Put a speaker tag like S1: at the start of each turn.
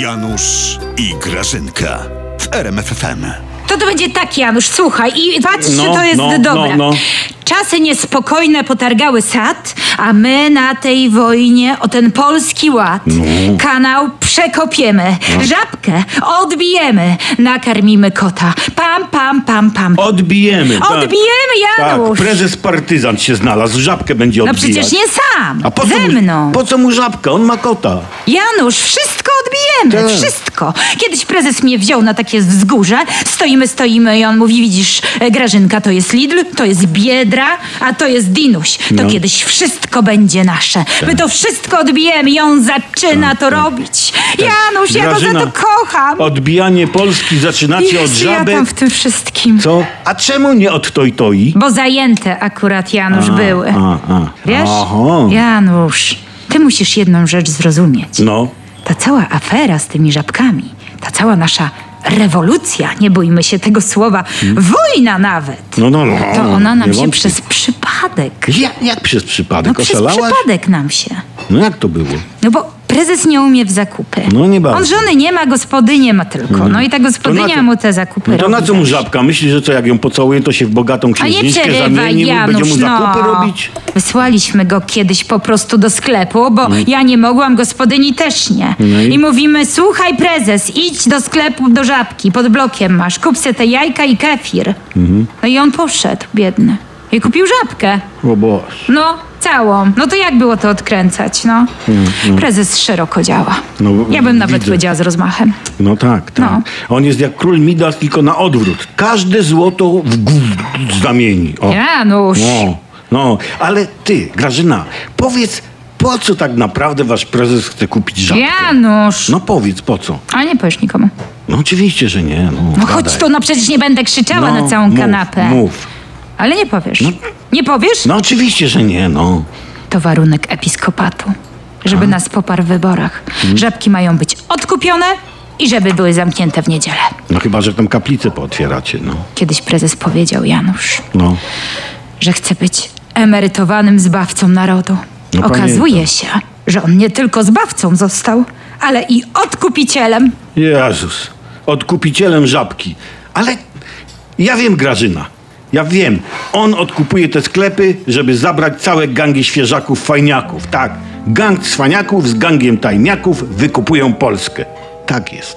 S1: Janusz i Grażynka w RMFFM.
S2: To to będzie tak, Janusz, słuchaj i patrz,
S3: No,
S2: czy to jest
S3: no, no,
S2: dobre.
S3: no.
S2: Czasy niespokojne potargały sad, a my na tej wojnie o ten polski ład
S3: No.
S2: kanał przekopiemy, żabkę odbijemy, nakarmimy kota. Pam, pam, pam, pam.
S3: Odbijemy. tak.
S2: Odbijemy,
S3: Tak,
S2: Janusz!
S3: prezes partyzant się znalazł, żabkę będzie
S2: no
S3: odbijać.
S2: przecież nie sam,
S3: A po co
S2: ze
S3: mu,
S2: mną.
S3: Po co mu żabka? On ma kota.
S2: Janusz, wszystko odbijemy,
S3: Tak.
S2: wszystko. Kiedyś prezes mnie wziął na takie wzgórze, stoimy, stoimy i on mówi, widzisz, e, Grażynka to jest Lidl, to jest Biedra, a to jest Dinuś. To
S3: No. Tak.
S2: kiedyś wszystko będzie nasze. My to wszystko odbijemy i on zaczyna to robić.
S3: Tak.
S2: Janusz, ja go za to kocham.
S3: Odbijanie Polski zaczynacie od
S2: Jezu, ja
S3: żaby.
S2: tam w tym wszystkim.
S3: Co? A czemu nie od toj toi?
S2: Bo zajęte akurat, Janusz, były.
S3: a, a.
S2: Wiesz?
S3: Aha.
S2: Janusz, ty musisz jedną rzecz zrozumieć.
S3: No.
S2: Ta cała afera z tymi żabkami, ta cała nasza rewolucja, nie bójmy się tego słowa, wojna nawet,
S3: Hmm? No, no, no.
S2: to ona nam
S3: Nie
S2: się
S3: wątpię.
S2: przez przypadek.
S3: Jak, jak przez przypadek?
S2: No przez
S3: Oszalałaś?
S2: przypadek nam się.
S3: No jak to było?
S2: No bo prezes nie umie w zakupy.
S3: No nie bardzo. Hmm.
S2: On żony nie ma, gospodynie ma tylko. No i ta gospodynia
S3: To na co-
S2: mu te zakupy
S3: No to
S2: robi.
S3: na co mu żabka? Myśli, że co, jak ją pocałuje, to się w bogatą
S2: A nie
S3: księżniczkę
S2: przerywaj,
S3: zamieni,
S2: Janusz,
S3: będzie mu zakupy
S2: no.
S3: robić?
S2: Wysłaliśmy go kiedyś po prostu do sklepu, bo ja nie mogłam, gospodyni też nie.
S3: No
S2: i?
S3: i?
S2: mówimy, słuchaj prezes, idź do sklepu do Żabki, pod blokiem masz, kup se te jajka i kefir.
S3: Mhm.
S2: No i on poszedł, biedny. I kupił Żabkę.
S3: O Boże.
S2: No, całą. No to jak było to odkręcać, no? Prezes szeroko działa.
S3: Mhm, No,
S2: ja bym nawet
S3: widzę.
S2: powiedziała z rozmachem.
S3: No tak, tak. On jest jak król Midas, tylko na odwrót. Każde złoto w gó- zamieni. O.
S2: Janusz.
S3: No, no, ale ty, Grażyna, powiedz, po co tak naprawdę wasz prezes chce kupić żabkę?
S2: Janusz.
S3: No powiedz, po co?
S2: Ale nie powiesz nikomu.
S3: No oczywiście, że nie. No,
S2: No chodź tu, no przecież nie będę krzyczała na całą
S3: mów,
S2: kanapę.
S3: Mów.
S2: Ale nie powiesz. Nie powiesz?
S3: No oczywiście, że nie, no.
S2: To warunek episkopatu. Żeby nas poparł w wyborach.
S3: Mhm.
S2: Żabki mają być odkupione i żeby były zamknięte w niedzielę.
S3: No chyba, że tam kaplicę pootwieracie, no.
S2: Kiedyś prezes powiedział Janusz,
S3: No,
S2: że chce być emerytowanym zbawcą narodu.
S3: No
S2: Okazuje
S3: pamiętam.
S2: się, że on nie tylko zbawcą został, ale i odkupicielem.
S3: Jezus, odkupicielem żabki. Ale ja wiem Grażyna. Ja wiem, on odkupuje te sklepy, żeby zabrać całe gangi świeżaków, fajniaków. Tak, gang cwaniaków z gangiem tajniaków wykupują Polskę. Tak jest.